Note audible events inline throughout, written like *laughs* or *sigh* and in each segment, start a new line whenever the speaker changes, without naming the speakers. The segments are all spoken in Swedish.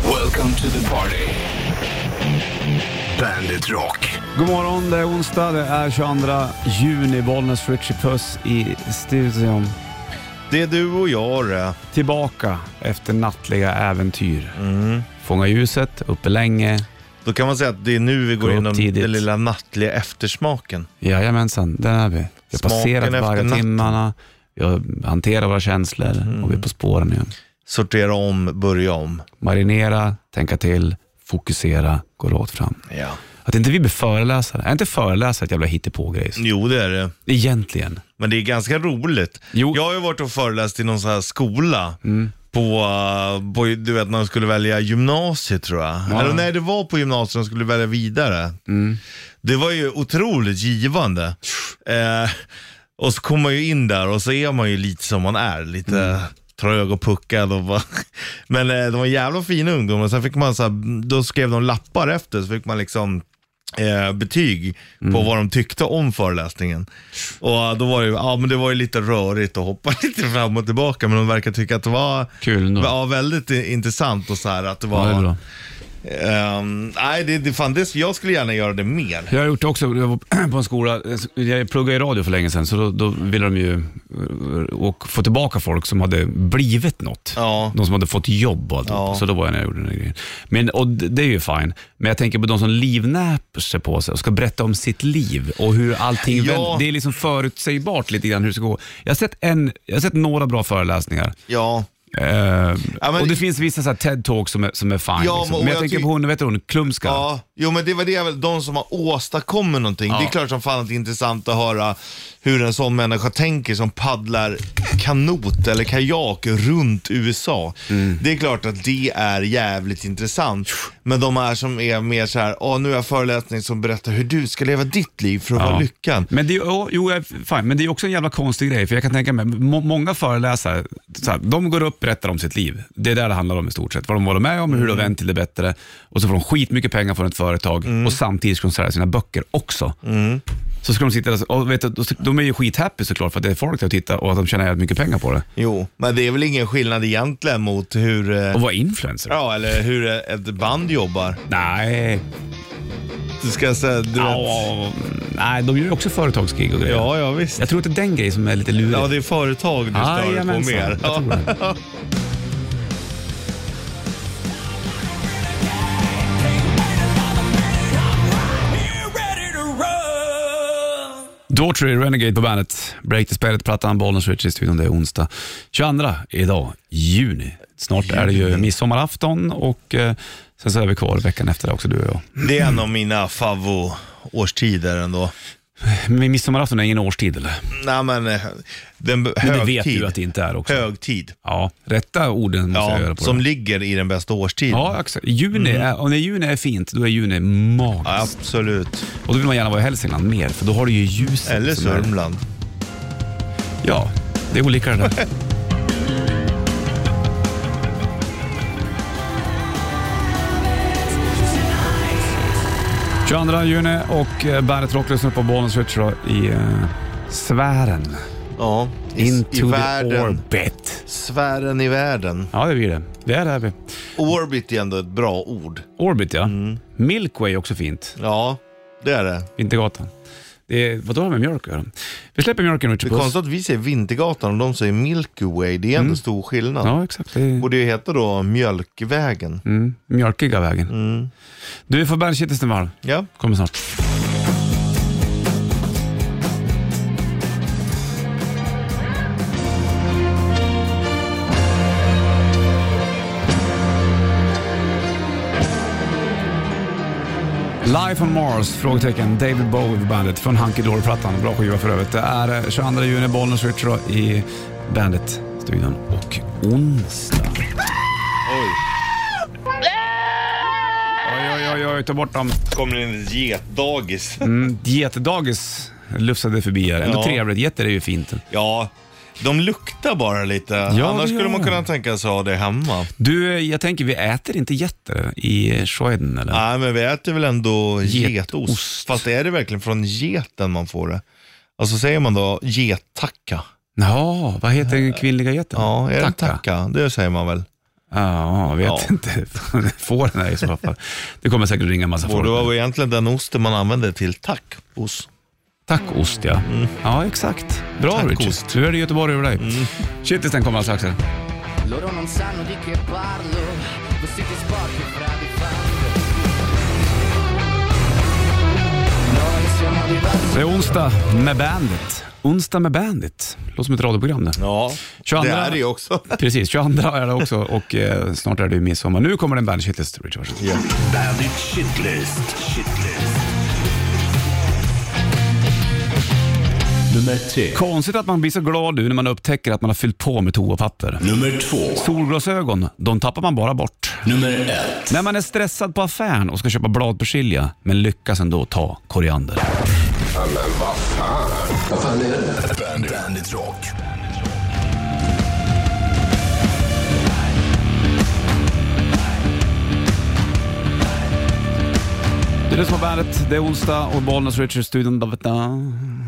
Welcome to the party. Bandit Rock.
God morgon, det är onsdag, det är 22 juni. Bollnäs Richie Puss i studion.
Det är du och jag det.
Tillbaka efter nattliga äventyr.
Mm.
Fånga ljuset, uppe länge.
Då kan man säga att det är nu vi går
Gå upp
igenom
tidigt.
den lilla nattliga eftersmaken.
Jajamensan, där är vi. Vi har
Smaken
passerat
efter
varje
natten.
timmarna, vi har hanterat våra känslor och
Mm.
vi är på spåren igen.
Sortera om, börja om.
Marinera, tänka till, fokusera, gå rakt fram.
Ja.
Att inte vi blir föreläsare. Är inte föreläsare ett jävla hittepågrejs?
Jo, det är det.
Egentligen.
Men det är ganska roligt.
Jo. Mm.
Jag har ju varit och föreläst i någon sån här skola. På, eh, på, du vet när de skulle välja gymnasiet tror jag. Eller nej, det var på gymnasiet de skulle välja vidare. Det var ju otroligt givande. Eh, och så kommer man ju in där och så är man ju lite som man är. Lite
Mm.
trög och puckad. Och bara. *laughs* Men eh, de var jävla fina ungdomar. Sen fick man så här, då skrev de lappar efter så fick man liksom eh, betyg
Mm.
på vad de tyckte om föreläsningen. Och då var det, ju- ja, men det var ju lite rörigt och hoppa *laughs* lite fram och tillbaka men de verkar tycka att det var
Kul ändå.
ja, väldigt i- intressant och så här att det
Ja,
var...
det är bra.
ehm, nej, det, det, fan, det, jag skulle gärna göra det mer.
Jag har gjort det också. Jag var *clears throat* på en skola, jag pluggade i radio för länge sedan, så då, då ville de ju eh, och få tillbaka folk som hade blivit något.
Ja.
De som hade fått jobb och allt.
Ja.
Så då var jag när jag gjorde den här grejen. Men, och det det är ju fine, men jag tänker på de som livnäper sig på sig och ska berätta om sitt liv och hur allting
Ja.
vänder. Det är liksom förutsägbart lite grann hur det ska gå. Jag har sett, en, jag har sett några bra föreläsningar.
Ja.
Eh,
men-
och det finns vissa så här TED-talks som är, som är fine.
Ja,
liksom. Men
men-
jag,
och jag
tänker
ty-
på hon, vet du, hon Klumska.
Ja, jo men det var det väl, de som har åstadkommit någonting. Det är klart som fan att det är intressant att höra hur en sån människa tänker som paddlar kanot eller kajak runt USA. Det är klart att det är jävligt intressant. Men de här som är mer så här, åh nu har jag föreläsning som berättar hur du ska leva ditt liv för att vara lyckad.
Men det, är- ja, jo, jag är fine. men det är också en jävla konstig grej, för jag kan tänka mig, må, många föreläsare, så här, de går upp och berättar om sitt liv. Det är där det handlar om i stort sett. Vad de varit med om,
Mm.
hur de vänt till det bättre och så får de skitmycket pengar från ett företag
Mm.
och samtidigt ska de sälja sina böcker också. Så ska de sitta där, och vet, du, då- de är ju skithappy såklart för att det är folk där och tittar och att de tjänar jävligt mycket pengar på det.
Jo, men det är väl ingen skillnad egentligen mot hur, eh,
Och vara influencer?
ja eller hur ett band jobbar.
Nej.
Du ska säga, du vet.
Ja, nej, de gör ju också företagsgig och grejer.
Ja, ja visst.
Jag tror att det är den grejen som är lite lurig.
Ja, det är företag du
Ah,
stör dig på
jajamensan.
mer.
Jag
Ja.
tror det. Daughtry, Renegade på bandet. Break the Spirit, plattan, Bollnäs Ritchie i studion. Det är onsdag 22 idag, juni. Snart är det ju midsommarafton och eh, sen så är vi kvar veckan efter det också, du och jag.
Det är en av mina favvo-årstider ändå.
Men midsommarafton är ingen årstid eller?
Nej men, eh, den be-
Men
högtid.
det vet du att det inte är också.
Högtid.
Ja, rätta orden måste jag
Ja,
göra på
som
det.
ligger i den bästa årstiden.
Ja, exakt. Juni är, och när juni är fint, då är juni magiskt.
Mm. Ja, absolut.
Och då vill man gärna vara i Hälsingland mer, för då har du ju ljuset.
Eller
som är-
Sörmland.
Ja, det är olika det
*laughs*
där. ...22 juni och eh, Bandet Rock lyssnar på Bonus Rich då i eh, sfären.
Ja, i,
Into
i
the
världen.
orbit.
Sfären i världen.
Ja, det blir det. Det är där vi.
Orbit är ändå ett bra ord.
Orbit ja.
Mm.
Milkway är också fint.
Ja, det är det.
Vintergatan. Det är, vadå har det med mjölk att göra? Vi släpper mjölken Richard
Det är
Puss.
konstigt att vi säger Vintergatan och de säger Milky Way. Det är ändå stor skillnad.
Mm. Ja, exakt. Det är
Borde ju heta då Mjölkvägen.
mm, mjölkiga vägen.
Mm.
Du, vi får bandet Stenvall.
Ja.
Kommer snart. Life on Mars? Frågetecken. David Bowie på bandet från Hunky Dory-plattan. Bra skiva för övrigt. Det är eh, 22 juni, Bollnäs Richard i Bandet-studion och onsdag. Oj, oj, oj, oj, ta bort dem.
Kommer det in ett getdagis?
Mm, getdagis lufsade förbi här. Ändå
Ja.
trevligt. Getter är ju fint.
Ja, de luktar bara lite.
det
Annars
gör
skulle man
de.
kunna tänka sig ha det hemma.
Du, jag tänker vi äter inte getter i Schweden eller?
Nej, men vi äter väl ändå
Getost.
getost. Fast är det verkligen från geten man får det? Alltså säger man då gettacka?
Ja, vad heter den kvinnliga getten?
Ja, är det tacka? Det säger man väl?
Ja, jag vet
Ja.
inte. *laughs* Fåren är i så fall. Det kommer säkert ringa en massa
Och det
folk.
var egentligen den osten man använde till tacos.
Tacoost ja. Ja, exakt. Bra
Tacoost.
Richard. Nu är det Göteborg över dig. Mm. Shitlisten kommer alldeles strax. här.
Loro non sanno di che parlo, vestiti sporchi fra di fango. Noi siamo diversi.
Det är onsdag med Bandit. Onsdag med Bandit. Låter som ett radioprogram det.
Ja,
22.
det är det ju också.
Precis, 22 är det också och eh, snart är det ju midsommar. Nu kommer en Bandit Shitlist, Richard. Varsågod.
Bandit Shitlist. Shitlist. Nummer tre.
Konstigt att man blir så glad nu när man upptäcker att man har fyllt på med toapapper.
Nummer två.
Solglasögon, de tappar man bara bort.
Nummer ett.
När man är stressad på affären och ska köpa bladpersilja, men lyckas ändå ta koriander.
Bandit, Bandit Rock.
Det är det som har bandet, det är onsdag och Bollnäs Richards studion. Da, da, da.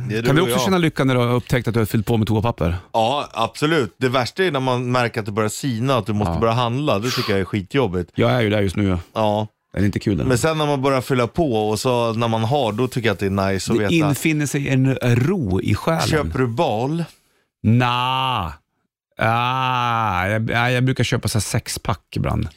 Det är
Kan du
och
också
jag.
känna lycka när du har upptäckt att du har fyllt på med toapapper?
Ja, absolut. Det värsta är när man märker att det börjar sina, att du måste börja handla. Det tycker jag är skitjobbigt.
Jag är ju där just nu.
Ja.
Det är inte kul den.
Men sen när man börjar fylla på och så när man har, då tycker jag att det är nice att
Det
veta.
infinner sig en ro i själen.
Köper du bal?
Nja. Ah, jag, ah, jag brukar köpa så här sexpack ibland.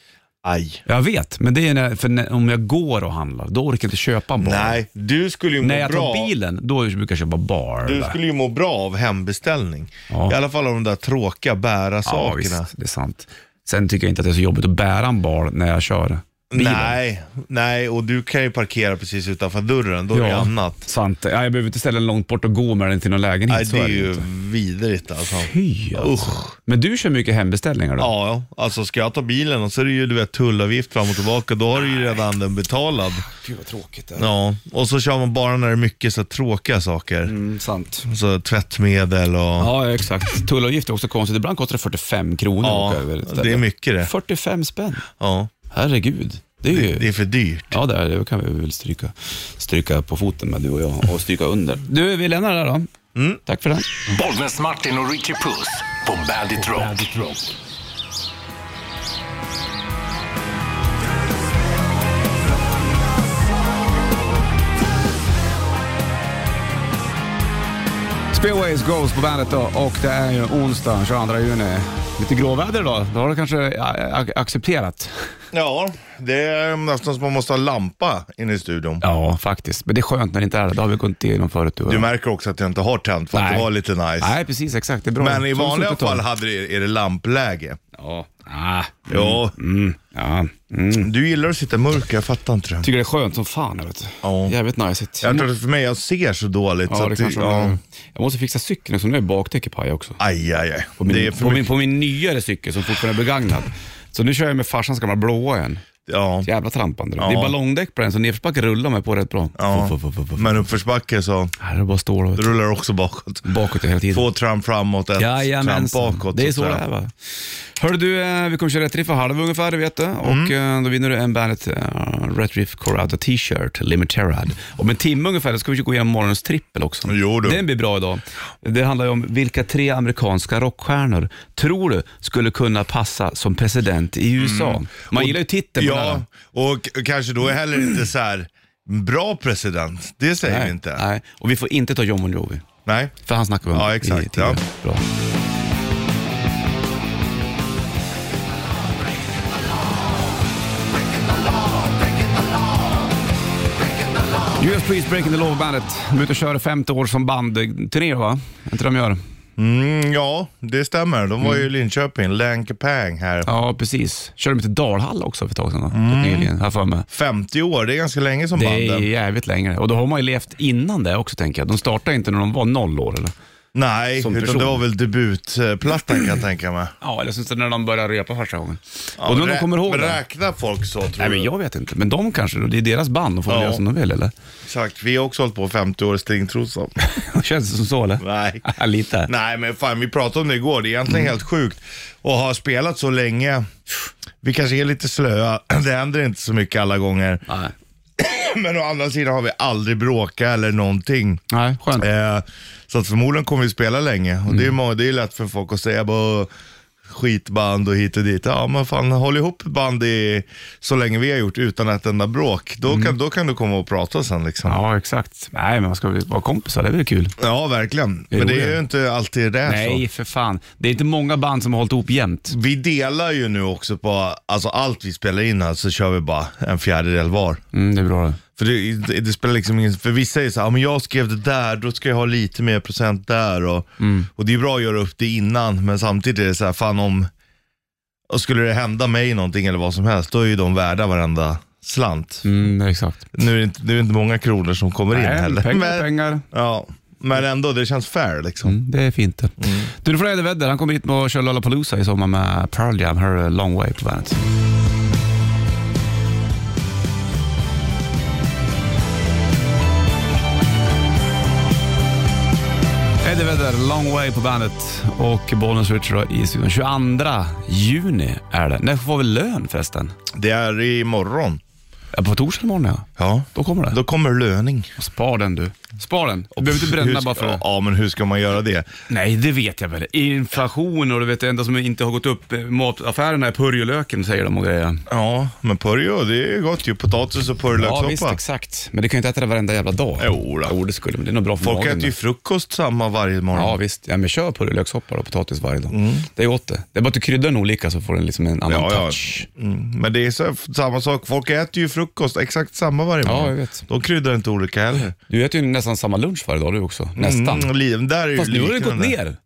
Aj.
Jag vet, men det är när, för när, om jag går och handlar, då orkar jag inte köpa en bar.
Nej, du skulle ju må
När jag
bra.
tar bilen, då brukar jag köpa bar.
Du skulle ju må bra av hembeställning.
Ja.
I alla fall av de där tråkiga bära
ja,
sakerna.
visst, det är sant. Sen tycker jag inte att det är så jobbigt att bära en bar när jag kör bilen.
Nej, nej, och du kan ju parkera precis utanför dörren, då är det
Ja, *laughs*
annat.
Sant. Ja, jag behöver inte ställa den långt bort och gå med den till någon lägenhet.
Nej,
så
det är
är
ju
inte.
vidrigt alltså.
Fy alltså.
Usch.
Men du kör mycket hembeställningar då?
Ja, alltså ska jag ta bilen och så är det ju du vet, tullavgift fram och tillbaka, då har du ju redan den betalad.
Gud vad tråkigt det
Ja, och så kör man bara när det är mycket så här tråkiga saker.
Mm, sant.
Så tvättmedel och... Ja,
Ja, exakt. Tullavgift är också konstigt. Ibland kostar det 45 kronor att åka över ett ställe.
det är mycket det.
45 spänn.
Ja,
Herregud. Det är ju...
det är för dyrt.
Ja, det, är det. det kan vi väl stryka, stryka på foten med du och jag och stryka under. Du, vi lämnar det där då.
Mm.
Tack för den.
Bollnäs Martin och Richie Puss på Bandit Rock.
Spillways Ghost på bandet då och det är ju onsdag 22 juni. Lite gråväder idag, det har du kanske a- a- accepterat?
Ja, det är nästan som man måste ha lampa inne i studion.
Ja, faktiskt. Men det är skönt när det inte är det. Det har vi gått igenom förut du och
Du
jag.
märker också att jag inte har tänt för att det
Nej.
var lite nice.
Nej, precis. Exakt. Det är bra.
Men i
Så
vanliga
slutet av.
fall hade det, är det lampläge.
Ja. Ah.
Ja,
Mm. ja. Mm.
du gillar att sitta i mörker, jag fattar inte det.
Tycker det är skönt som fan. Jag vet.
Ja.
Jävligt najsigt.
Jag tror att för mig, jag ser så dåligt. så
Ja, det
att
kanske
ja.
ja. Jag måste fixa cykeln också. Nu är bakdäcket paj också.
Aj, aj, aj.
På min,
det är för
på, min,
mycket.
på min nyare cykel som fortfarande är begagnad. Så nu kör jag med farsans gamla blåa igen.
Ja.
Jävla trampande. då.
Ja.
Det är ballongdäck på den, så nedförsbacke rullar mig på rätt bra.
Ja.
Fuff, fuff, fuff, fuff.
Men uppförsbacke så
Här är det bara stål och
rullar det också bakåt.
bakåt hela tiden.
Två tramp framåt, ett tramp
Mm. Jajamensan,
bakåt.
det är
så
så
att
det
säga.
är va. Hörru du, eh, vi kommer köra rätt riff för halv ungefär, det vet du. Och
Mm.
eh, då vinner du en Bandet uh, Rätt Riff Corrado t-shirt, Limiterad. Om en timme ungefär så ska vi gå igenom morgonens trippel också.
Jo, du.
Den blir bra idag. Det handlar ju om vilka tre amerikanska rockstjärnor tror du skulle kunna passa som president i USA? Man gillar ju titeln på den
Mm. Ja,
här.
och k- kanske då är heller inte så här bra president. Det säger vi inte. Nej.
Nej, och vi får inte ta John Bon Jovi. För han snackar vi om
Ja,
i-
exakt,
tidigare. Bra. US Police Breaking the Law bandet. De är ute och kör femte år som band. eh, Turné va? Är inte de gör?
Mm, ja, det stämmer. De var ju i Linköping, Lankepang här.
Mm. Ja, precis. Körde de till Dalhalla också för ett tag sedan va? Mm. Nyligen, har jag för mig.
50 år, det är ganska länge som
Det är
banden.
jävligt längre. Och då har man ju levt innan det också tänker jag. De startade inte när de var noll år eller?
Nej,
som
utan
person.
det var väl debutplattan kan jag tänka mig.
Ja, eller syns det när de började repa första gången. *clears throat*
Ja,
och då
rä-
de kommer ihåg
men
det.
Räknar folk så tror
Nej, men jag vet inte. Men de kanske, det är deras band, de får väl
Ja.
göra som de vill eller? *laughs*
du? Exakt, vi har också hållit på 50 år i stringtrosa.
Känns det som så eller?
Nej.
*laughs* Lite.
Nej, men fan vi pratade om det igår. Det är egentligen
Mm.
helt sjukt och har spelat så länge. Vi kanske är lite slöa. *clears throat* Det händer inte så mycket alla gånger. *clears throat*
Nej.
Men å andra sidan har vi aldrig bråkat eller någonting.
Nej, skönt.
Mm. Eh, så att förmodligen kommer vi spela länge. Och det är, ju må- det är lätt för folk att säga bara skitband och hit och dit. Ja, men fan håll ihop band i, så länge vi har gjort utan ett enda bråk. Då kan, då kan du komma och prata sen liksom. Mm. Ja,
Ja, exakt. Nej, men man ska väl vara kompisar, det är väl kul.
verkligen. Men det är
roligare.
ju inte alltid det är så.
Nej, för fan. Det är inte många band som har hållit ihop jämt.
Vi delar ju nu också på, alltså allt vi spelar in här så kör vi bara en fjärdedel var.
Mm, det är bra det.
För det, det, det spelar liksom ingen, för vissa är så här, "Ja, men jag skrev det där, då ska jag ha lite mer procent där och,
Mm.
och det är bra att göra upp det innan, men samtidigt är det så här, fan om, och skulle det hända mig någonting eller vad som helst, då är ju de värda varenda slant.
Mm, exakt.
Nu är det inte, det är inte många kronor som kommer in heller.
Nej, pengar
men,
är pengar.
Ja, men ändå, det känns fair liksom.
Mm, det är fint det. Du, nu får du Eddie Vedder. Han kommer hit och kör Lollapalooza i sommar med Pearl Jam. Här är Long Way på bandet. Eddie Vedder, Long Way på bandet och Bollnäs Richard i studion. 22 juni är det. När får vi lön förresten?
Det är imorgon.
Ja, På torsdag imorgon ja.
Ja.
Då kommer det.
Då kommer löning.
Spar den du. Spar den. Du behöver inte
Hur
bränna
ska-
bara för det.
Ja, men hur ska man göra det?
Nej, det vet jag väl. Inflation och du vet, det enda som inte har gått upp, eh, mataffärerna är purjolöken säger de och grejer.
Ja, men purjo, det är gott ju. Potatis och purjolökssoppa.
exakt. Men du kan ju inte äta det varenda jävla dag.
Jo då.
Jo, det skulle men det är nog bra för
Folk
magen.
äter ju frukost samma varje morgon.
Ja, visst. Ja, men kör purjolökssoppa och potatis varje dag. Det är gott det. Det är bara att du kryddar den olika så får den liksom en annan
Mm. Ja, ja.
touch.
Mm, men det är så, samma sak. Folk äter ju frukost exakt samma varje
Ja,
morgon.
jag vet.
De kryddar inte olika heller.
Du äter ju nästan samma lunch varje dag du också. Nästan.
Mm, liv, där är ju
Fast nu har det gått
liknande.
ner. liksom.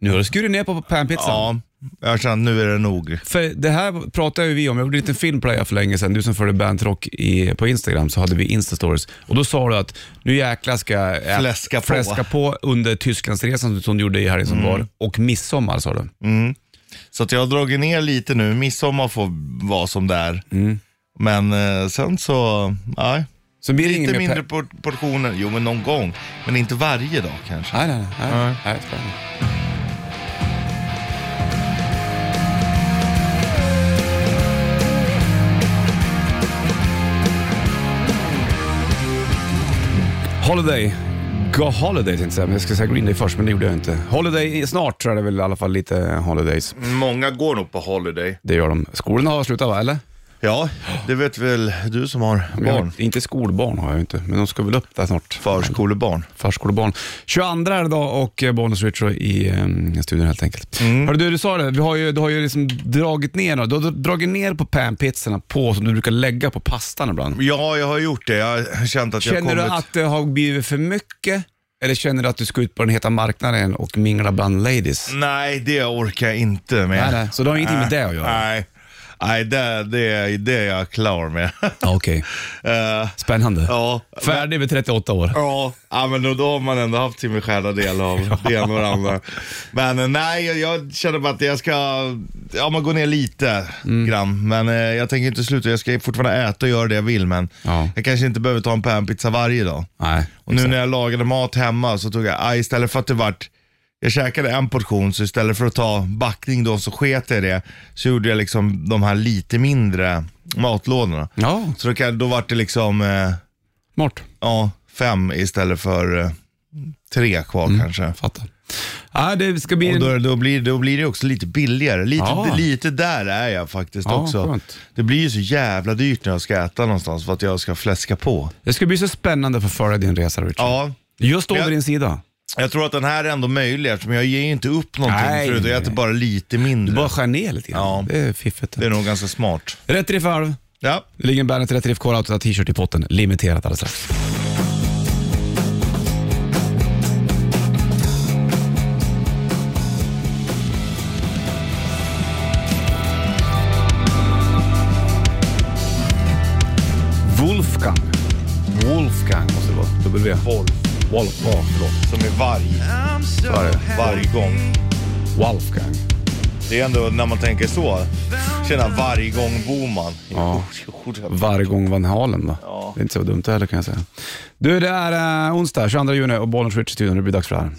Nu har du skurit ner på panpizzan.
Ja, jag känner nu är det nog.
För det här pratade ju vi om, jag gjorde en liten film på det här för länge sedan. Du som följer Bandrock i, på Instagram så hade vi Instastories. Och då sa du att nu jäklar ska jag ä-
Fläska på. Mm.
fläska på under Tysklandsresan som du gjorde i helgen som var. Och midsommar sa du.
Så att jag har dragit ner lite nu. Midsommar får vara som det är.
Mm.
Men eh, sen så, nej.
Så blir det ingen
Lite
mer pe-
mindre por- portioner. Jo, men någon gång. Men inte varje dag kanske.
Nej, nej, nej. nej. nej spännande. Holiday. Go Holiday tänkte jag säga, men jag ska säga Green Day först, men det gjorde jag inte. Holiday snart tror jag det är väl i alla fall lite holidays.
Många går nog på holiday.
Det gör de. Skolorna har slutat va, eller?
Ja, det vet väl du som har
Jag har-
barn.
Inte skolbarn har jag ju inte, men de ska väl upp där snart.
Förskolebarn.
förskolebarn. 22 är det idag och eh, Bonus Retro i eh, studion helt enkelt.
Mm.
Hörru du, du sa det, vi har ju, du har ju liksom dragit ner några. Du har dra- dragit ner på panpizzorna på som du brukar lägga på pastan ibland.
Ja, jag har gjort det. Jag har känt att jag
Känner du
kommit...
att det har blivit för mycket? Eller känner du att du ska ut på den heta marknaden och mingla bland ladies?
Nej, det orkar jag inte med.
Nej, nej. Så det har ingenting med det att göra?
Nej, nej det, det, det är jag klar med. *laughs*
Ja, Ah, Okej,
Eh,
spännande.
ja.
Färdig vid 38 år.
Ja, ja, men då, då har man ändå haft sin beskärda
*laughs*
del av det ena och det andra. Men eh, nej, jag, jag känner bara att jag ska, ja man går ner lite
Mm.
grann. Men eh, jag tänker inte sluta, jag ska fortfarande äta och göra det jag vill. Men
Ja.
jag kanske inte behöver ta en panpizza varje dag.
Nej,
Och nu när jag lagade mat hemma så tog jag, ah, istället för att det vart, jag käkade en portion så istället för att ta backning då så sket jag i det. Så gjorde jag liksom de här lite mindre matlådorna.
Ja,
Så då, kan- då vart det liksom, eh,
smart.
ja, fem istället för eh, tre kvar kanske.
Fattar. Ja, det ska bli
Och
en...
då, då, blir, då blir det också lite billigare. Lite,
Ja.
lite där är jag faktiskt
Ja,
också.
skönt.
Det blir ju så jävla dyrt när jag ska äta någonstans för att jag ska fläska på.
Det ska bli så spännande för att följa din resa Richard.
Ja,
Jag står
Men-
vid din sida.
Jag tror att den här är ändå möjlig eftersom jag ger ju inte upp någonting
Nej.
förut och jag äter bara lite
Du
mindre.
bara skär ner lite grann.
Ja.
Det är fiffigt.
Det är nog ganska smart.
Rätt riff halv.
Ja.
Det ligger en Bandet Rätt Riff Core Autota t-shirt i potten. Limiterat alldeles strax. Wolfgang. Wolfgang måste det vara. W. Wolf. Wolf. Ja, förlåt.
Som är varg. Så är det. Varje gång.
Wolfgang.
Det är ändå när man tänker så. Tjena, varje gång Boman.
Ja. Varje gång Van Halen va?
Ja.
Det är inte så dumt heller kan jag säga. Du, det är eh, onsdag 22 juni och Bollnäs Rich i studion. Det blir dags för det här.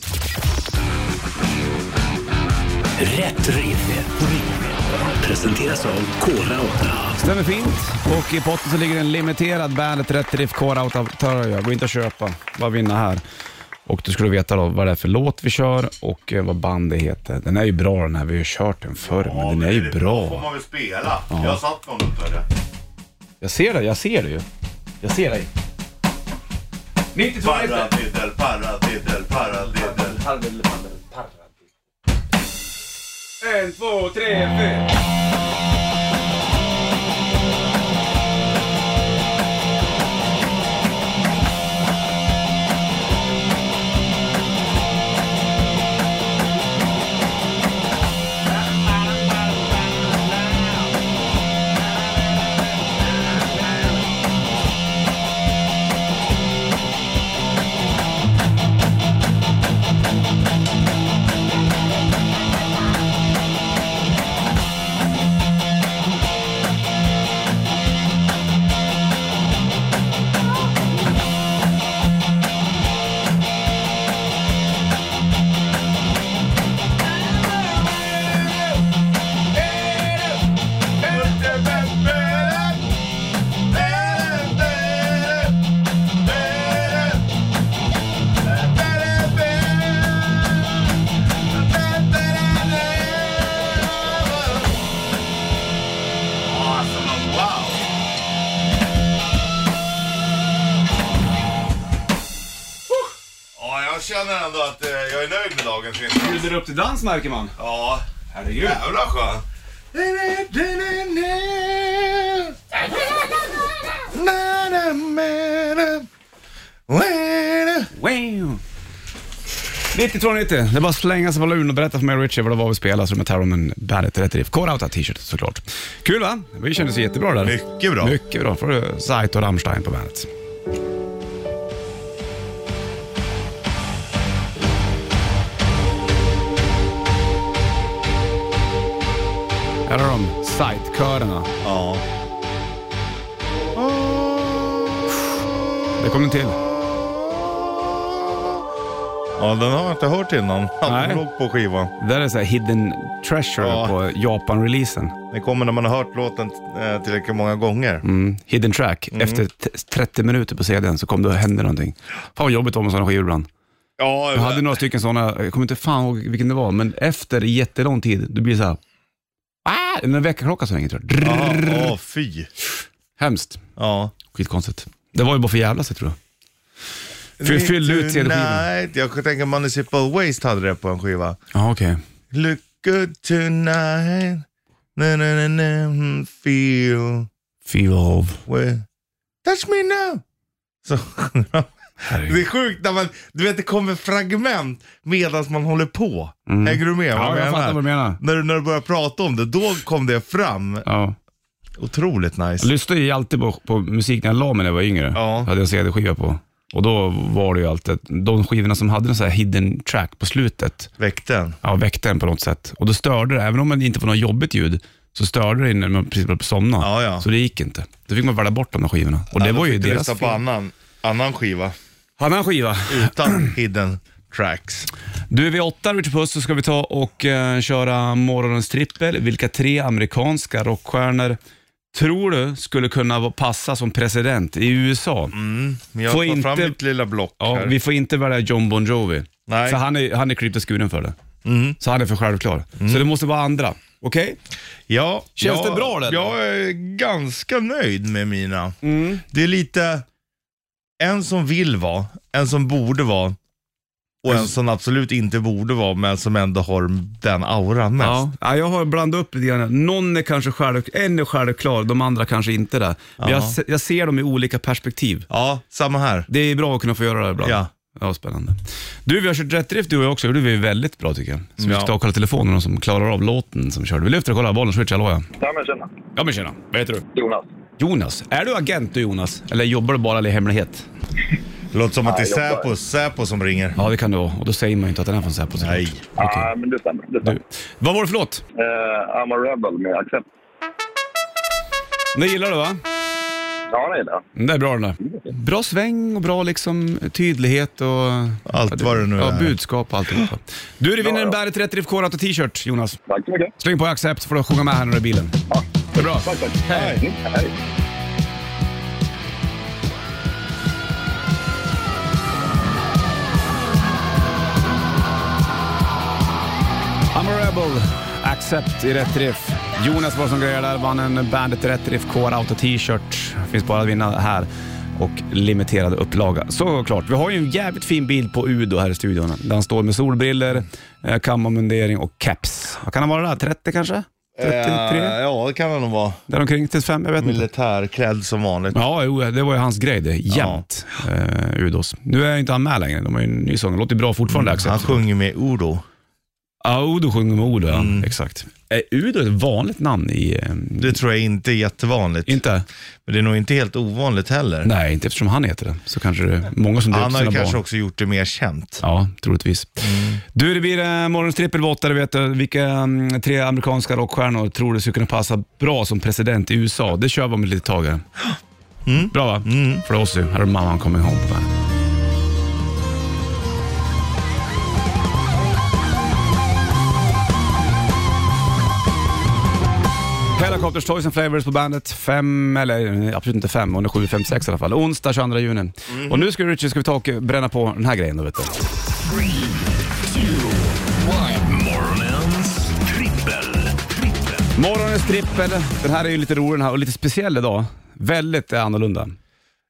Rätt riff. Presenteras av Kora 8.
Stämmer fint. Och i potten så ligger en limiterad Bandet Rätt Riff Core Autotörja. Gå inte och köpa, bara vinna här. Och du skulle veta då vad det är för låt vi kör och eh, vad bandet heter. Den är ju bra den här, vi har ju kört den förr, men den är ju bra.
man väl spela. Jag satt på honom för det.
Jag ser det, jag ser det ju. Jag ser dig. 92
Paradiddel, paradiddel, paradiddel.
En, två, tre, fyra.
Ja, jag känner ändå att eh, jag är nöjd med dagens insats.
Bjuder upp till dans märker man.
Ja. Herregud. Jävla skön.
Wow. 9290, det är bara att slänga sig på luren och berätta för mig och Richie vad det var vi spelade, så de är här om en Bandet Rätt Riff. Core Outta t-shirt såklart. Kul va? Vi kändes jättebra där.
Mycket bra.
Mycket bra. får du Saito och Rammstein på bandet. Här har de Sight-körerna.
Ja.
Det kom den till.
ja, den har jag inte hört innan. Att
Nej.
den låg på skivan.
Det där är så här hidden treasure
Ja.
på Japan-releasen.
Den kommer när man har hört låten eh, tillräckligt många gånger.
Mm, hidden track. Efter t- 30 minuter på CDn så kom det och hände någonting. Fan vad jobbigt det var med sådana skivor ibland.
Ja,
Jag hade några stycken sådana, jag kommer inte fan ihåg vilken det var, men efter jättelång tid, det blir så här. Ah, en väckarklocka så länge tror jag. Drr,
Ja, ja, fy.
Hemskt.
Ja.
Skitkonstigt. Det var ju bara för jävla sig tror jag. Fy- Fyll ut CD-skivan.
Tonight. Jag tänker Municipal Waste hade det på en skiva.
Ja, okej.
Look good tonight. Na, na, na, na, mm, feel.
Feel of.
Well, touch me now. Så sjunger de. Det är sjukt när man, du vet det kommer fragment medan man håller på. Hänger du med?
Mm. Ja, jag fattar vad du menar.
När du, när du börjar prata om det, då kom det fram.
Ja.
Otroligt
Jag
nice.
lyssnade ju alltid på, på musik när jag la mig när jag var yngre.
Ja.
Hade jag en CD-skiva på. Och då var det ju alltid, de skivorna som hade en sån här hidden track på slutet,
Väkten.
ja, väckte en på något sätt. Och då störde det, även om det inte var något jobbigt ljud, så störde det när man precis började somna.
Ja, ja.
Så det gick inte. Då fick man välja bort de där skivorna. Och det var ju deras
fel. på
fel.
annan, annan skiva
Annan skiva.
utan hidden tracks.
Du, vid åtta, Richard Puss, så ska vi ta och eh, köra morgonens trippel. Vilka tre amerikanska rockstjärnor tror du skulle kunna vara- passa som president i USA?
Mm, Men jag
Får
tar fram
inte-
mitt lilla block
Ja,
här.
vi får inte välja John Bon Jovi.
Nej. Mm.
För han är, han är klippt och skuren för det. Så han är för självklar. Så det måste vara andra. Okej?
Ja,
Känns
jag,
det bra, eller?
Jag är ganska nöjd med mina.
Mm.
Det är lite en som vill vara, en som borde vara och en som absolut inte borde vara men som ändå har den auran mest.
Ja. ja, jag har blandat upp lite grann. Någon är kanske själv, en är självklar, de andra kanske inte det. Men jag, se- jag ser dem i olika perspektiv.
Ja, samma här.
Det är bra att kunna få göra det ibland.
Ja.
Ja, spännande. Du, vi har kört rätt drift du och jag också. Det gjorde vi väldigt bra tycker jag. Så vi
Ja.
ska ta och kolla telefonen, någon som klarar av låten som vi körde. Vi lyfter och kollar, bollen switch, hallå ja.
Ja men tjena,
Ja men tjena, vad heter du?
Jonas.
Jonas, är du agent du Jonas? Eller jobbar du bara i hemlighet?
Låter som att det är
jag jobbar.
Säpo, Säpo som ringer.
Ja det kan du vara, och då säger man ju inte att den är från Säpo såklart.
Nej.
Ja
Okej.
men det stämmer. Det stämmer.
Du. Vad var det för låt?
Eh, I'm a rebel med Accept.
Den gillar du va?
Ja nej det.
Den där Mm, är bra den där. Bra sväng och bra liksom tydlighet och...
Allt vad det nu
ja,
är.
budskap och alltihopa. Du, du vinner en Bandet Rätt Riff Core t-shirt Jonas.
Tack så mycket.
Släng på Accept så får du sjunga med här när du är i bilen.
Ja.
Det är bra.
Tack tack.
Hej.
Mm, hej.
I
Accept i rätt riff. Jonas var som grejade där, vann en Bandet Rätt Riff Core Auto T-shirt. Finns bara att vinna här. Och limiterad upplaga, såklart. Vi har ju en jävligt fin bild på Udo här i studion. Där han står med solbriller, eh, kammarmundering och caps. Vad kan han vara där? 30 kanske? 33?
Eh, Ja, det kan det nog vara.
Däromkring, 35? Jag vet inte.
Militärklädd som vanligt.
Ja, jo, det var ju hans grej det, jämt. Eh, Udos. Nu är inte han med längre, de har ju en ny sång. Låter bra fortfarande.
Mm, Han
Accept.
sjunger med Udo.
Ja, Udo sjunger med Udo, ja.
Mm.
Exakt. Är Udo ett vanligt namn i... eh,
Det tror jag inte är jättevanligt.
Inte?
Men det är nog inte helt ovanligt heller.
Nej, inte eftersom han heter det. Så kanske det är många som döper
Han har
sina
ju
barn.
kanske också gjort det mer känt.
Ja, troligtvis. Du, det blir eh, morgonens trippelvottare. Vet du. Vilka mm, tre amerikanska rockstjärnor tror du skulle kunna passa bra som president i USA? Det kör vi om ett litet tag. här. Bra va? Mm. Flossie, här har du mamman coming home på bandet. Helicopters, Toys and Flavors på bandet. Fem, eller eh, absolut inte fem, hon är sju, fem, sex i alla fall. Onsdag 22 juni. Och nu ska, vi, Richard, ska vi ta och bränna på den här grejen då vet du.
Morgonens trippel. trippel.
Morgonens trippel. Den här är ju lite rolig den här och lite speciell idag. Väldigt eh, annorlunda.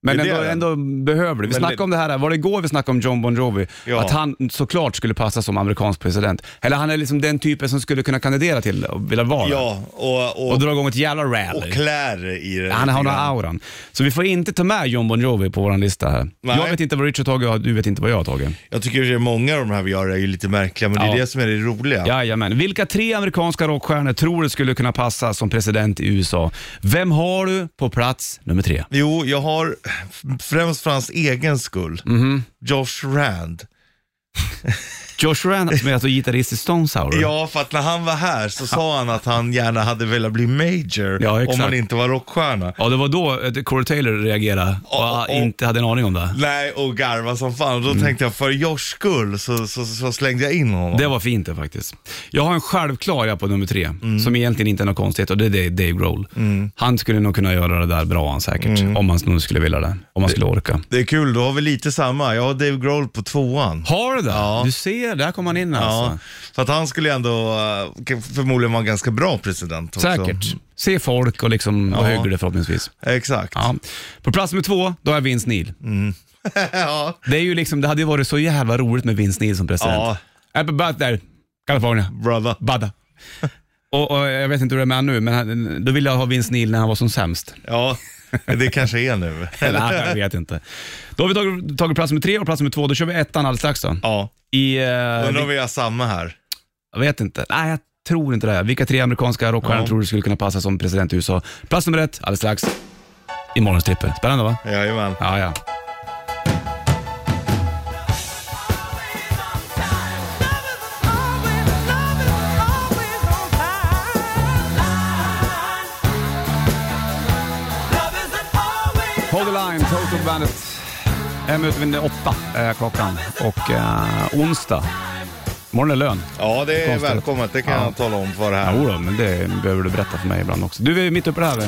Men
Det är
ändå,
det.
ändå behövlig. Vi
Men
snackade
det-
om det här, var det igår vi snackade om John Bon Jovi?
Ja.
Att han såklart skulle passa som amerikansk president. Eller han är liksom den typen som skulle kunna kandidera till och vilja vara.
Ja, och, och,
Och
och,
dra igång ett jävla rally.
klär i det.
han har
lite
den
grann.
här auran. Så vi får inte ta med John Bon Jovi på vår lista här.
Nej.
Jag vet inte vad Richard har tagit och du vet inte vad jag har tagit.
Jag tycker att många av de här vi gör är ju lite märkliga, men det
Ja.
är det som är det roliga.
Jajamän. Vilka tre amerikanska rockstjärnor tror du skulle kunna passa som president i USA? Vem har du på plats nummer tre?
Jo, jag har främst för hans egen skull.
Mhm.
Josh Rand.
Josh Rand som är alltså gitarrist i Stones Sour.
Ja, för att när han var här så sa han att han gärna hade velat bli major
Ja, exakt.
om han inte var rockstjärna.
ja, det var då eh, Corey Taylor reagerade och
Ja, och-
inte hade en aning om det.
Nej, och garva som fan. Och då
Mm.
tänkte jag, för Joshs skull så, så, så slängde jag in honom.
Det var fint det faktiskt. Jag har en självklar jag på nummer tre,
Mm.
som egentligen inte är något konstigt och det är Dave Grohl. Han skulle nog kunna göra det där bra han säkert, om han nu skulle vilja det. Om han skulle orka.
Mm. Det är kul, då har vi lite samma. Jag har Dave Grohl på tvåan.
Har du det?
Ja.
Du ser, där kom han in
Ja,
alltså.
för att han skulle ändå eh, förmodligen vara en ganska bra president också.
Säkert. Se folk och liksom vara högre förhoppningsvis.
Exakt.
Ja. På plats nummer två, då har jag Vince Neil.
*laughs* ja.
Det, är ju liksom, det hade ju varit så jävla roligt med Vince Neil som president. Äh,
Ja.
Happy birthday, California.
Brother. *laughs*
Badda. Och, och jag vet inte hur det är med han nu, men han, då ville jag ha Vince Neil när han var som sämst.
Ja, det kanske är nu.
*laughs* Eller, jag vet inte. Då har vi tagit, tagit plats nummer tre och plats nummer två. Då kör vi ettan alldeles strax då.
Ja,
I, eh,
undrar
vi-
om vi har samma här.
jag vet inte. Nej, jag tror inte det. Vilka tre amerikanska rockstjärnor
Ja.
tror du skulle kunna passa som president i USA? Plats nummer ett alldeles strax. I morgons trippel. Spännande va?
Jajamän.
Ja, ja. Hold the line, Total Bandet. En minut över åtta är klockan och eh, onsdag. Imorgon är lön.
Ja, det är
Konstigt.
välkommet. Det kan
Ja.
jag tala om för det här.
Jo då, men det behöver du berätta för mig ibland också. Du, vi är mitt uppe i det här. vi.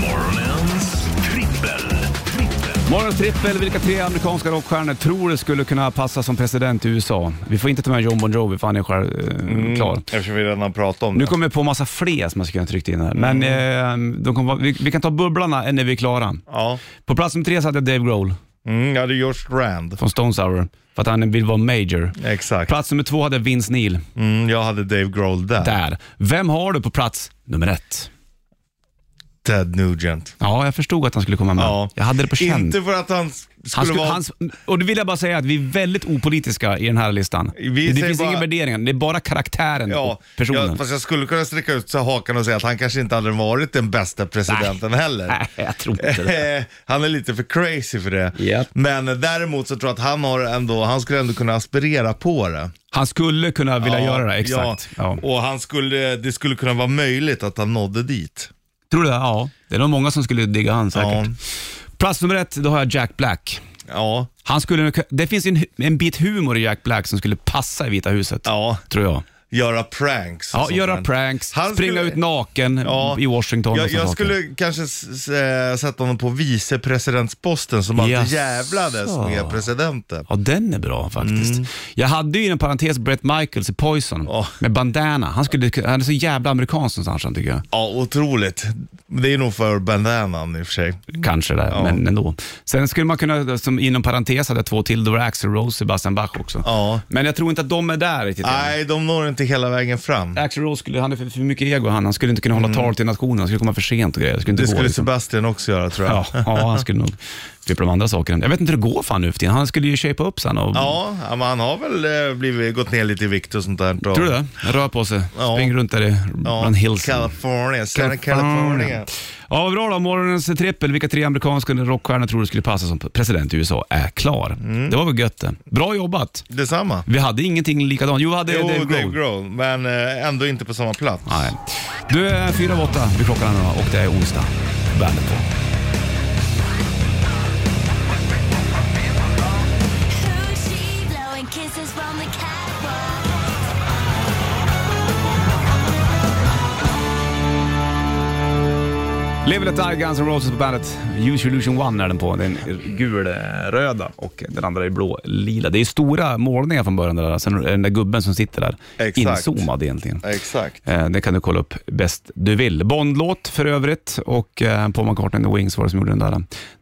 Morgonens trippel. trippel.
Morgons trippel, vilka tre amerikanska rockstjärnor tror du skulle kunna passa som president i USA? Vi får inte ta med John Bon Jovi för han är själv eh, klar.
Eftersom vi redan pratat om
Nu
det.
kommer jag på massa fler som man skulle kunna tryckt in här, men eh, de kommer, vara- vi, vi kan ta bubblarna när vi är klara.
Ja.
På plats nummer tre satte jag Dave Grohl
Mm, ja, det är Josh Rand.
från Stones Sour för att han vill vara major.
Exakt.
Plats nummer två hade jag Vince Neil.
Mm, jag hade Dave Grohl där.
Där. Vem har du på plats nummer ett?
Ted Nugent.
Ja, jag förstod att han skulle komma med.
Ja.
Jag hade det på känn.
Inte för att han skulle,
Han skulle,
vara...
hans, och det vill jag bara säga att vi är väldigt opolitiska i den här listan.
Vi
det
säger
finns inga
bara-
värderingar, det är bara karaktären
Ja,
och personen.
Jag, fast jag skulle kunna sträcka ut så här hakan och säga att han kanske inte hade varit den bästa presidenten heller.
*laughs* Nej, jag tror inte det.
*laughs* Eh, han är lite för crazy för det.
Japp.
Men eh, däremot så tror jag att han, har ändå, han skulle ändå kunna aspirera på det.
Han skulle kunna vilja
Ja,
göra det, exakt. Ja.
Ja. Och han skulle, det skulle kunna vara möjligt att han nådde dit.
Tror du det? Ja, det är nog många som skulle digga han säkert. Plats nummer ett, då har jag Jack Black.
Ja,
Han skulle, nog- det finns ju en, en bit humor i Jack Black som skulle passa i Vita huset,
ja.
tror jag.
göra pranks. och
Ja,
sånt
göra
där.
pranks,
Han
springa
skulle-
ut naken
Ja,
i Washington och
Jag,
sådana
jag
saker.
skulle kanske s- s- eh, sätta honom på vicepresidentsposten som alltid
Jaså.
jävlades med presidenten.
Ja, den är bra faktiskt. Jag hade ju en parentes Brett Michaels i Poison
Mm. Ja.
med bandana. Han, skulle, han är så jävla amerikansk någonstans han, tycker jag.
Ja, otroligt. Det är nog för bandanan i och för sig.
Kanske där,
Mm. Ja.
men ändå. Sen skulle man kunna, som inom parentes hade jag två till, då var det Axl Rose och Sebastian Bach också.
Ja.
Men jag tror inte att de är där riktigt. än.
Nej, de når inte hela vägen fram.
Axl Rose, skulle, han är för, för mycket ego han. Han skulle inte kunna hålla tal till nationen, han skulle komma för sent och grejer. Det skulle inte
Mm. Det
gå.
skulle
liksom.
Sebastian också göra tror jag.
ja, *laughs* ja, han skulle nog flippa de andra sakerna. Jag vet inte hur det går för han nu för tiden. Han skulle ju shapea upp sen och...
Ja, ja, men han har väl eh, blivit, gått ner lite i vikt och sånt där. Och,
Tror du det? Rör på sig.
Ja.
Spring runt där i,
Ja,
bland hillsen.
California, Southern California.
Ja, vad bra då. Morgonens trippel. Vilka tre amerikanska rockstjärnor tror du skulle passa som president i USA är klar.
Mm.
Det var väl gött det. Bra jobbat.
Detsamma.
Vi hade ingenting likadant. Jo, vi hade
Jo,
Dave Grohl.
Grohl, men eh, ändå inte på samma plats.
Nej. Du är fyra av åtta vid klockan nu och det är onsdag. Bandet på.
Who's she blowing kisses from the catwalk?
Live Let Die, Guns N' Roses på bandet. Use Your Illusion One är den på. Den är gul, eh, röda och den andra är blå, lila. Det är stora målningar från början där. Sen är det den där gubben som sitter där
Exakt.
inzoomad egentligen.
Exakt.
Eh, Det kan du kolla upp bäst du vill. Bondlåt för övrigt och eh, Paul McCartney and the Wings var det som gjorde den där.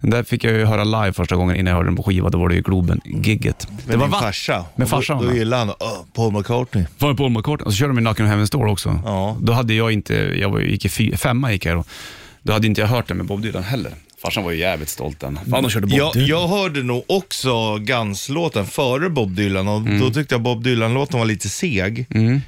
Den där fick jag ju höra live första gången innan jag hörde den på skiva. Då var det ju Globen-gigget. Det
Med
var
din
va-
farsa.
Med
Och då-
farsan
Då
va?
gillar han "Åh, Paul McCartney.
Var det Paul McCartney? Och så Alltså, körde de ju Knockin' on Heaven's Door också.
Ja.
Då hade jag inte, jag var, gick i fy, femma gick jag då. Då hade inte jag hört den med Bob Dylan heller. Farsan var ju jävligt stolt den. Fan, de körde Bob
Jag,
Dylan.
jag hörde nog också Guns-låten före Bob Dylan och
Mm.
då tyckte jag Bob Dylan-låten var lite seg.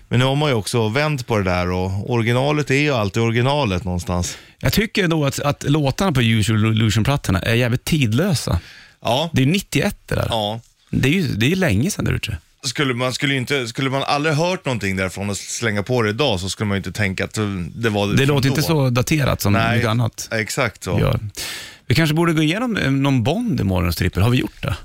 Men nu har man ju också vänt på det där och originalet är ju alltid originalet någonstans.
Jag tycker då att, att låtarna på Usual Illusion-plattorna är jävligt tidlösa.
Ja,
Det är ju 91 det där.
ja.
Det är ju det är ju länge sedan där ute.
Skulle man, skulle, ju inte, skulle man aldrig hört någonting därifrån och slänga på det idag så skulle man ju inte tänka att det var
Det
från
låter
då.
inte så daterat som
Nej,
mycket annat
Exakt så.
gör. Vi kanske borde gå igenom eh, någon Bond i morgons trippel. Har vi gjort det?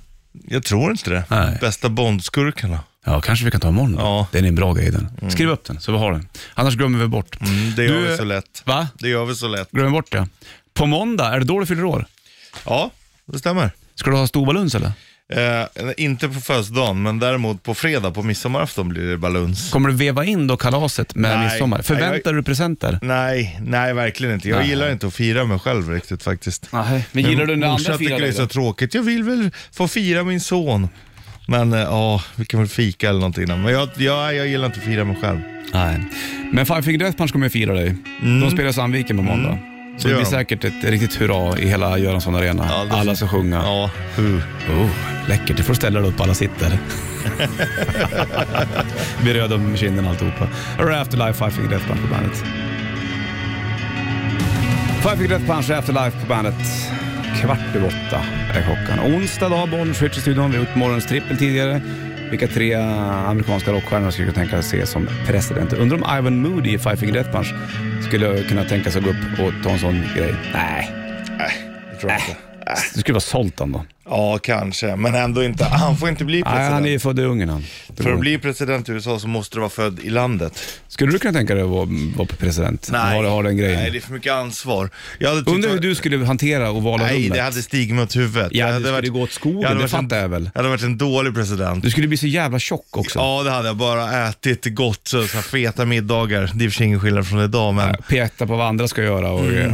Jag tror inte det.
Nej.
Bästa Bondskurkarna.
Ja, kanske vi kan ta imorgon då.
Ja.
Den är en bra grej den. Skriv upp den så vi har den. Annars glömmer vi bort.
Mm, det gör vi så lätt.
Va?
Det gör vi så lätt.
Glömmer bort det. På måndag, är det då du fyller år?
Ja, det stämmer.
Ska du ha storbaluns eller?
Eh, inte på födelsedagen, men däremot på fredag på midsommarafton blir det baluns.
Kommer du veva in då kalaset med
Nej.
midsommar?
Nej,
Förväntar du presenter?
Nej, nej verkligen inte. Jag
Nej.
gillar inte att fira mig själv riktigt faktiskt.
Nej, men gillar du när
Morsan
andra
tycker
firar
det är så
det?
tråkigt. Jag vill väl få fira min son. Men eh, ja, vi kan väl fika eller någonting. innan. Men jag, jag, jag gillar inte att fira mig själv.
Nej. Men Five Finger Death Punch kommer ju fira dig. De spelar i Sandviken på måndag. Så
Mm. Det
det
gör
blir
de.
säkert ett riktigt hurra i hela Göransson Arena.
Ja, det-
Alla ska sjunga.
Ja, hu.
Oh, läckert, du får ställa dig upp, alla
*laughs*
sitter. Blir röd om kinden alltihopa. Här är Afterlife, Five Finger Death Punch på bandet. Five Finger Death Punch, Afterlife på bandet. Kvart över åtta är klockan. Onsdag dag, Bollnäs Richard studion Vi har gjort morgonens trippel tidigare. Vilka tre amerikanska rockstjärnor skulle kunna tänka sig se som presidenter? Undrar om Ivan Moody i Five Finger Death Punch skulle kunna tänka sig att gå upp och ta en sån grej. Nej,
Jag tror inte.
det skulle vara sålt han då.
Eh. Ja, kanske. Men ändå inte. Ah, Han får inte bli
Nej,
president.
han är ju född i Ungern han. Det
För
går
att bli president i USA så måste du vara född i landet.
Skulle du kunna tänka dig att vara, vara president? Har, har den grejen?
Nej, det är för mycket ansvar. Jag hade tyckt-
Undrar hur du skulle hantera och vala
Nej,
rummet.
det hade stigit mig åt huvudet.
Ja,
Jag
det
hade
skulle gå åt skogen,
hade
det
varit en-
fattar jag väl.
Jag hade varit en dålig president.
Du skulle bli så jävla tjock också.
Ja, det hade jag. Bara ätit gott, så, så här, feta middagar. Det är i och för sig ingen skillnad från idag, men
Peta på vad andra ska göra och eh,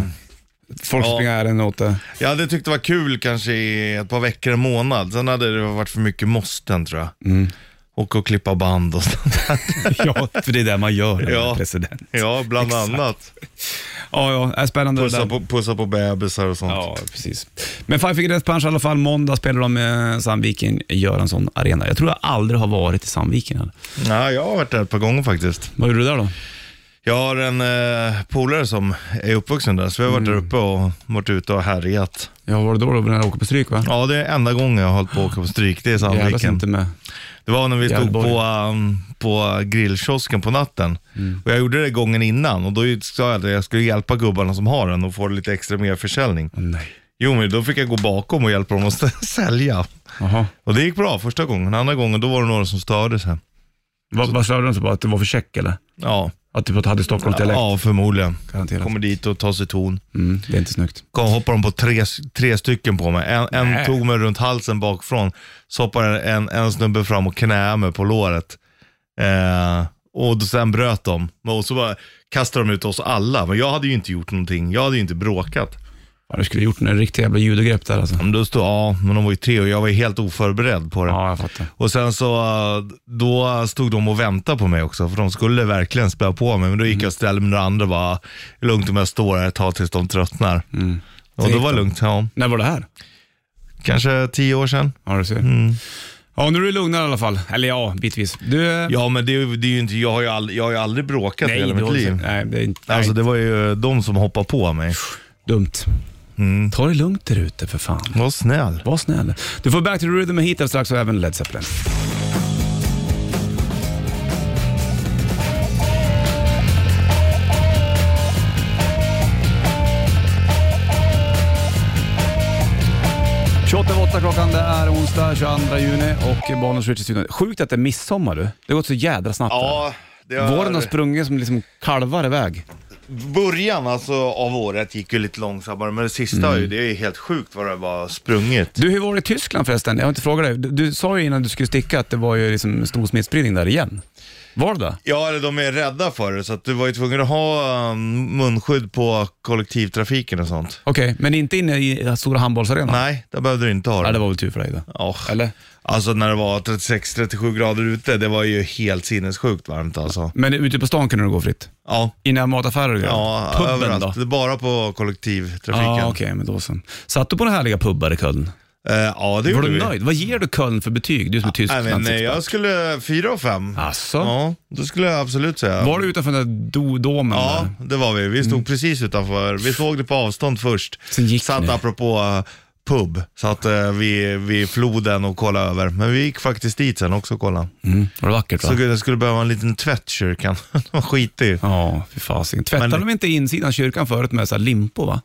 folk
Ja.
springer ärenden åt det.
jag hade tyckt det var kul kanske i ett par veckor, en månad. Sen hade det varit för mycket måsten tror jag. Och att klippa band och sånt där.
Mm. *laughs* ja, för det är det man gör när man
Ja.
är president.
Ja, bland annat.
Ja, ja, är spännande det
Pussa
där.
på, pussa på bebisar och sånt.
Ja, precis. Men Five Finger Death Punch i alla fall. Måndag spelar de eh, Sandviken, Göransson Arena. Jag tror jag aldrig har varit i Sandviken. Eller.
Ja, jag har varit där ett par gånger faktiskt.
Vad gjorde du där då?
Jag har en eh, polare som är uppvuxen där, så vi har
Mm.
varit där uppe och varit ute och härjat.
Ja, var det då, då när jag åkte på stryk va?
Ja, det är enda gången jag har hållit på att åka på stryk, det är
Jävlas
Sandviken.
inte med.
Det var när vi stod
Gävleborg. Mm.
på, um, på grillkiosken på natten. Och jag gjorde det gången innan och då sa jag att jag skulle hjälpa gubbarna som har den och få lite extra mer försäljning.
Nej.
Jo, men då fick jag gå bakom och hjälpa dem att *laughs* sälja.
Jaha.
Och det gick bra första gången. Andra gången, då var det några som störde sig.
Vad, vad störde de sig på? Typ Att det var för check eller?
Ja,
Att typ att hade Stockholmsdialekt?
ja förmodligen.
Garanterat.
Kommer dit och tar sig ton.
Mm, det är inte snyggt.
Kom- hoppar de på tre, tre stycken på mig. En, en tog mig runt halsen bakifrån, så hoppade en, en snubbe fram och knäade mig på låret. Eh, och då- sen bröt de. Och så bara kastade de ut oss alla. Men jag hade ju inte gjort någonting. Jag hade ju inte bråkat.
Ja, du skulle ha gjort en riktig jävla judogrepp där alltså.
Men då stod, ja, men de var ju tre och jag var ju helt oförberedd på det.
Ja, jag fattar.
Och sen så, eh, då stod de och väntade på mig också, för de skulle verkligen spöa på mig. Men då gick
Mm.
jag och ställde mig med några andra och bara, lugnt om jag står här ett tag tills de tröttnar. Och
Mm. gick
det var
de.
lugnt, ja.
När var det här?
Kanske tio år sedan.
Ja, du ser.
Mm.
Ja, nu är du lugnare i alla fall. Eller ja, bitvis. Du...
Ja, men det, är ju- det är ju inte, jag har ju, all, jag har ju aldrig bråkat i hela
du
mitt
har-
liv.
Nej, det är inte... Nej,
Alltså det var ju de som hoppade på mig.
dumt.
mm.
Ta det lugnt där ute för fan.
Var snäll.
Var snäll. Du får Back to the Rhythm med Heat strax och även Led Zeppelin. åtta klockan, det är onsdag 22 juni och Bonus Richard studion. Sjukt att det är midsommar du. Det har gått så jädra snabbt.
Ja, det
här. Våren har
har,
sprungit som liksom kalvar iväg.
början alltså av året gick ju lite långsammare, men det sista har ju, det är ju helt sjukt vad det var sprungit.
Du, hur var det i Tyskland förresten? Jag har inte frågat dig. Du, du sa ju innan du skulle sticka att det var ju liksom stor smittspridning där igen. Var det det?
Ja, eller de är rädda för det, så att du var ju tvungen att ha um, munskydd på kollektivtrafiken och sånt.
Okej, men inte inne i stora handbollsarenan?
Nej, där behövde du inte ha det.
Ja, det var väl tur för dig då.
Ja.
Eller?
Alltså när det var 36-37 grader ute, det var ju helt sinnessjukt varmt alltså.
Men ute på stan kunde du gå fritt?
Ja,
Innan mataffärer och grejer?
Ja,
Puben
överallt.
då?
Det är bara på kollektivtrafiken.
Ja, okej, men då så. Satt du på den härliga pubbar i Köln?
Eh, ja, det
Var
gjorde
du
vi.
nöjd? Vad ger du Köln för betyg? Du som är tysk
Nej, men, eh,
finansexpert.
jag skulle fyra av fem.
Asså?
Ja, det skulle jag absolut säga.
Var du utanför den där do- domen
Ja,
där?
det var vi. Vi stod precis utanför. Vi såg det på avstånd först.
Sen gick
Satt
ni.
apropå eh, pub, satt eh, vid, vid floden och kollade över. Men vi gick faktiskt dit sen också och kollade.
Mm. Var det vackert va?
Så jag skulle behöva en liten tvätt *laughs* kyrkan. Den var skitig.
Ja, fy fasen. Tvättar
Men-
de inte insidan kyrkan förut med så här limpo va?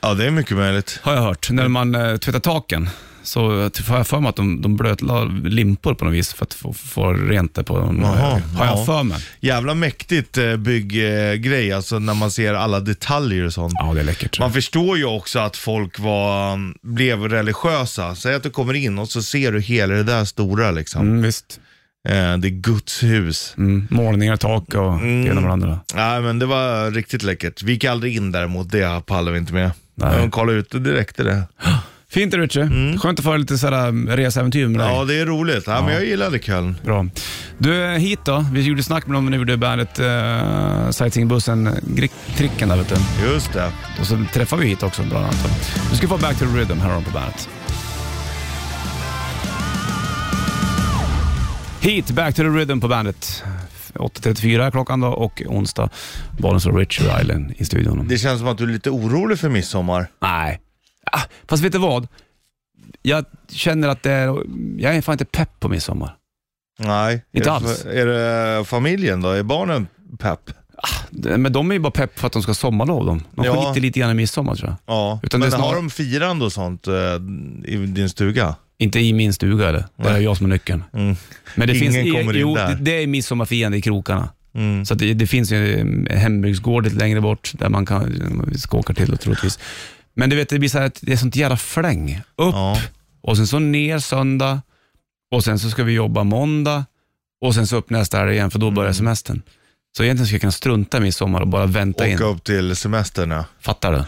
Ja, det är mycket möjligt.
Har jag hört. När man eh, tvättar taken så har jag för mig att de, de blötla limpor på något vis för att få, få rent det på dem.
Jaha,
har jag
ja.
för mig.
Jävla mäktigt eh, bygggrej, alltså när man ser alla detaljer och sånt.
Ja, det är läckert.
Man förstår ju också att folk var, blev religiösa. Säg att du kommer in och så ser du hela det där stora liksom.
Mm, visst.
Eh, det är Guds hus.
Mm. Målningar, tak och
Mm.
det ena med det andra.
Nej men det var riktigt läckert. Vi gick aldrig in däremot, det pallade vi inte med.
Nej.
Men kolla ut det direkt. Det.
Fint det Richie. Skönt att få höra lite sådär mm, reseäventyr med dig.
Mm. Ja, det är roligt. Ja, men jag gillade Köln.
Bra. Du, eh, hit då. Vi gjorde snack med dem när vi gjorde bandet uh, Sightseeingbussen, Gri- tricken där vet du.
Just det.
Och så träffade vi hit också bland annat. Du ska få Back to the Rhythm, här har de på bandet. Hit, Back to the Rhythm på bandet. 8.34 är klockan då och onsdag, Bollens och Richard Island i studion.
Det känns som att du är lite orolig för midsommar.
Nej. Ah, fast vet du vad? Jag känner att det är, jag är fan inte pepp på midsommar.
Nej.
Inte
är,
alls.
Är det familjen då? Är barnen pepp?
Men de är ju bara pepp för att de ska ha sommarlov de. De
Ja.
skiter lite grann i midsommar tror jag.
Ja.
Utan
men
det är snar-
har de firande och sånt eh, i din stuga?
Inte i min stuga eller? Där är jag som är nyckeln.
Mm.
Men det
Ingen
finns,
kommer in
jo,
där.
det- Det är midsommarfirande i krokarna.
Mm.
Så att det, det finns ju en hembygdsgård lite längre bort där man kan, vi ska åka till då, troligtvis. Men du vet, det blir så här, att det är sånt jävla fläng. Upp
Ja.
och sen så ner söndag och sen så ska vi jobba måndag och sen så upp nästa helg igen för då
Mm.
börjar semestern. Så egentligen ska jag kunna strunta i midsommar och bara vänta in.
Åka upp till semestern, ja.
Fattar du?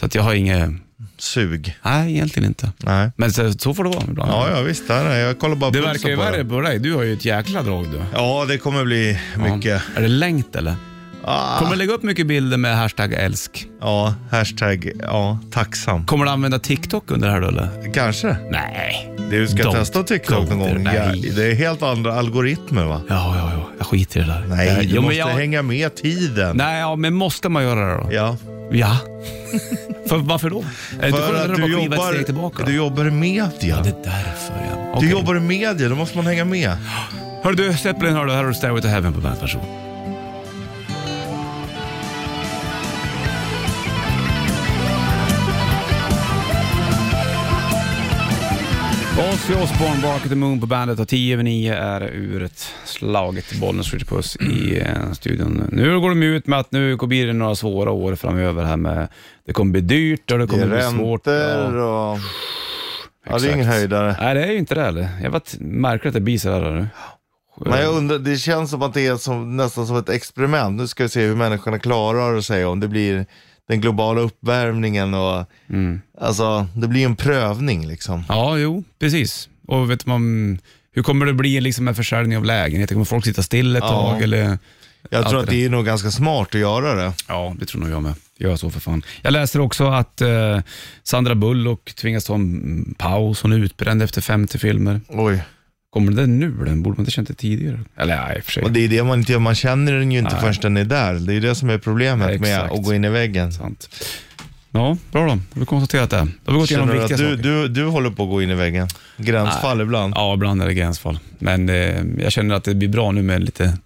Så att jag har inget,
Sug.
nej egentligen inte.
Nej.
Men så, så får det vara ibland.
Ja, ja visst. Där är jag. jag kollar bara
Det
pulsen
verkar ju
på
värre
den.
på dig, du har ju ett jäkla drag du.
Ja, det kommer bli mycket.
Är det längt eller?
Ah,
Kommer du lägga upp mycket bilder med hashtag älsk?
ja, hashtag ja, tacksam.
Kommer du använda TikTok under det här då eller?
Kanske.
Nej.
Du ska
Don't
testa TikTok
go
någon
there.
gång. Ja,
Nej.
det är helt andra algoritmer va?
Ja, ja, ja. Jag skiter i det där.
Nej,
jag,
du
men
måste
jag,
hänga med tiden.
Nej, ja, men måste man göra det då?
Ja.
Ja. *laughs* för varför då? Eh, Är det inte
För att
att
du
bara kliva ett steg
jobbar,
tillbaka?
du
då?
jobbar i
Ja,
media.
det är därför ja.
Du
Okej.
jobbar i media, då måste man hänga med.
Hör du, Zeppelin hör du. Här har du Stairway to Heaven på bandet. Varsågod. Och Ozzy Osbourne, Bark at the Moon på bandet och 10 över 9 är uret slaget. Bollnäs Ritchie Puss i eh, studion. Nu går de ut med att nu blir det några svåra år framöver här med, det kommer bli dyrt och det
Det
kommer
är
bli svårt.
räntor och... Ja, det är
exakt.
ingen höjdare.
Nej, det är ju inte det heller. Jag vet, märker att det blir sådär nu.
Men jag undrar, det känns som att det är som, nästan som ett experiment. Nu ska vi se hur människorna klarar sig om det blir den globala uppvärmningen och...
Mm.
Alltså, det blir en prövning liksom.
Ja, jo, precis. Och vet man, hur kommer det bli liksom med försäljning av lägenheter? Kommer folk sitta still ett tag? Eller?
Jag tror
Allt
att
det
det är nog ganska smart att göra det.
Ja, det tror nog jag med. Gör så för fan. Jag läser också att eh, Sandra Bullock tvingas ta en mm, paus. Hon är utbränd efter 50 filmer.
Oj.
Kommer den nu? Den borde man inte känt det tidigare. Eller nej, i och för sig.
Och det är det man inte gör, man känner den ju inte förrän den är där. Det är det som är problemet
Nej,
med
exakt.
att gå in i väggen.
Sant. Ja, bra då. Då har vi konstaterat det. Då har vi gått igenom
Känner du att
viktiga
du,
saker.
du, du håller på att gå in i väggen? Gränsfall ibland?
Ja, ibland är det gränsfall. Men eh, jag känner att det blir bra nu med lite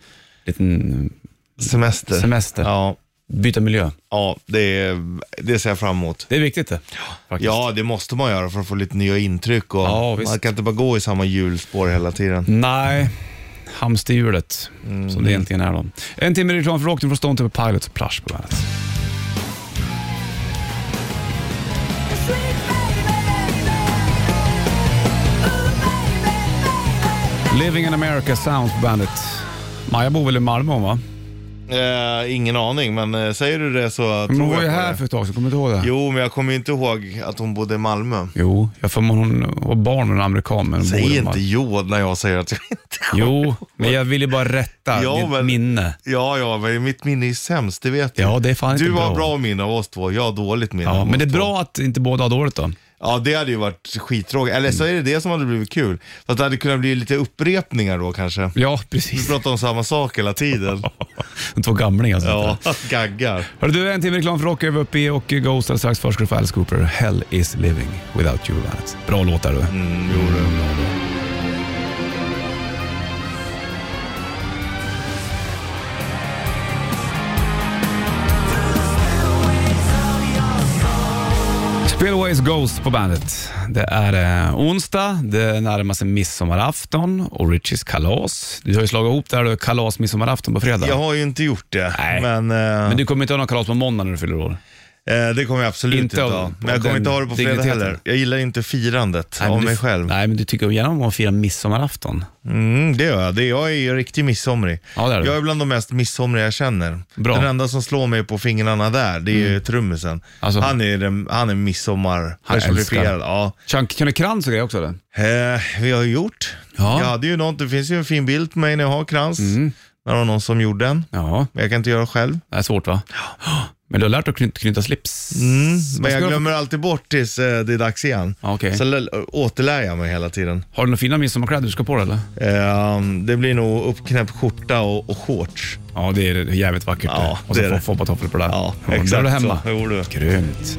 liten
Semester?
semester.
Ja,
Byta miljö.
ja det, är, det ser jag fram emot.
Det är viktigt det. Faktiskt.
Ja, det måste man göra för att få lite nya intryck. Och
Ja, visst.
man kan inte bara gå i samma hjulspår hela tiden.
Nej, hamsterhjulet
Mm.
som det egentligen är då. En timme reklam för Rock'n'Roll från Stone Temple Pilots och Plush på bandet. Living in America Sounds på bandet. Maja bor väl i Malmö hon va?
Eh, ingen aning, men eh, säger du det så
Men hon
tror
var ju
jag på
här
det.
för ett tag sedan, kommer du inte ihåg det?
Jo, men jag kommer ju inte ihåg att hon bodde i Malmö.
Jo, jag får hon var barn med en amerikan men hon bor
Säg
i Malmö.
inte jo när jag säger att jag *laughs* inte
Jo, men jag vill ju bara rätta
Ja,
ditt
men-
minne.
Ja, ja, men mitt minne är sämst, det vet du.
Ja, det är fan
Du
inte
har
bra.
bra minne av oss två, jag har dåligt minne
Ja,
av
men det är
oss två.
bra att inte båda har dåligt då.
Ja, det hade ju varit skittråkigt. Eller så är det det som hade blivit kul. För att det hade kunnat bli lite upprepningar då kanske.
Ja,
Vi
precis.
pratar om samma sak hela tiden.
De två gamlingar som
Ja,
*laughs*
*laughs*
ja.
gaggar.
Hörru du, en timme reklam för rock är vi uppe i och Ghost alldeles strax. Först ska du få Alice Cooper, Hell is living without you bandet. Bra låtar du.
Mm, jo, det.
Spillways Ghost på bandet. Det är eh, onsdag, det närmar sig midsommarafton och Richies kalas. Du har ju slagit ihop det här du, kalas midsommarafton på fredag.
Jag har ju inte gjort det,
Nej.
men, eh,
Men du kommer inte ha något kalas på måndag när du fyller år?
eh, det kommer jag absolut
Inte
inte
av-
ha. Men jag
av
kommer inte ha det
den
på fredag
digniteten.
heller. Jag gillar inte firandet
men
av
du-
mig själv.
Nej, men du tycker ju gärna om att fira midsommarafton.
Mm, det gör jag. Det, jag är ju riktig midsomrig.
Ja, det är du.
jag är bland de mest midsomriga jag känner.
Bra.
Den enda som slår mig på fingrarna där, det är ju trummisen.
Alltså-
han är, den, han är midsommar
Han älskar.
personifierad. Ja.
Chunk, kan du krans och grejer också eller?
Eh, vi har ju gjort.
Ja. Mm.
Jag hade ju något, det finns ju en fin bild på mig när jag har krans. När det var någon som gjorde den.
Ja,
Men jag kan inte göra själv.
det är svårt va? Men du har lärt dig att knyta, knyta slips? Vad
Mm. Men
ska
jag
du-
glömmer alltid bort tills eh, det är dags igen.
Ja, okej.
Så l- återlär jag mig hela tiden.
Har du några fina midsommarkläder du ska på dig, eller?
Eh, det blir nog uppknäppt skjorta och, och shorts.
Ja, det är jävligt vackert.
Ja,
och så
det är
få
det.
foppatofflor på det.
Ja,
Där är
exakt
du hemma.
så. Jo, du.
Grymt.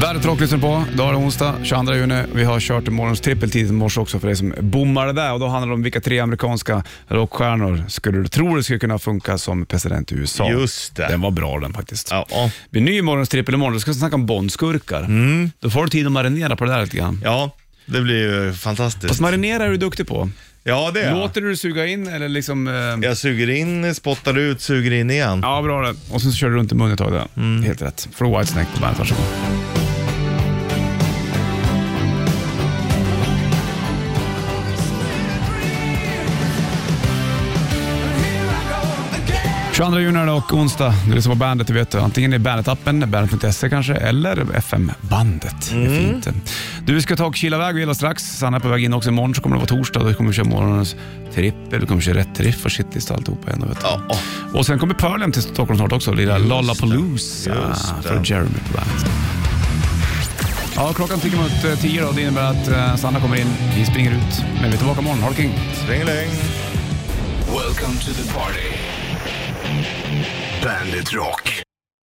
Värdet Rock lyssnar på. Idag är det onsdag, 22 juni. Vi har kört morgons trippel tidigt i morse också för dig som bommar det där. Och då handlar det om vilka tre amerikanska rockstjärnor skulle du tro det skulle kunna funka som president i USA.
Just det.
Den var bra den faktiskt.
Ja, ja.
Vid ny morgons trippel imorgon, då ska vi snacka om bondskurkar. Mm. Då får du tid att marinera på det där lite grann.
Ja, det blir ju fantastiskt.
Fast marinera är du duktig på.
Ja, det är jag.
Låter du det suga in eller liksom... Eh... Ja.
Jag suger in, spottar ut, suger in igen.
bra det. Och sen så kör du runt i munnen ett tag där.
Mm.
Helt rätt. Från Whitesnake på bandet, varsågod. ...22 juni är det och onsdag. Du lyssnar på bandet, du vet du. Antingen i bandet-appen, bandet.se kanske, eller FM-bandet. Det är
Mm.
fint. Du ska ta och kila iväg hela strax. Sanna är på väg in också. Imorgon så kommer det vara torsdag. Då kommer vi köra morgonens trippel. Du kommer köra rätt riff och shitlist och alltihopa igen. Vet du.
Ja, ja.
Och sen kommer Pearl till Stockholm snart också. Lilla Lollapalooza
Just det.
för Jeremy på bandet. Ja, klockan tickar mot eh, tio då. Det innebär att eh, Sanna kommer in. Vi springer ut. Men vi är tillbaka imorgon. Ha det kring.
Ringeling.
Welcome to the party. Bandit Rock.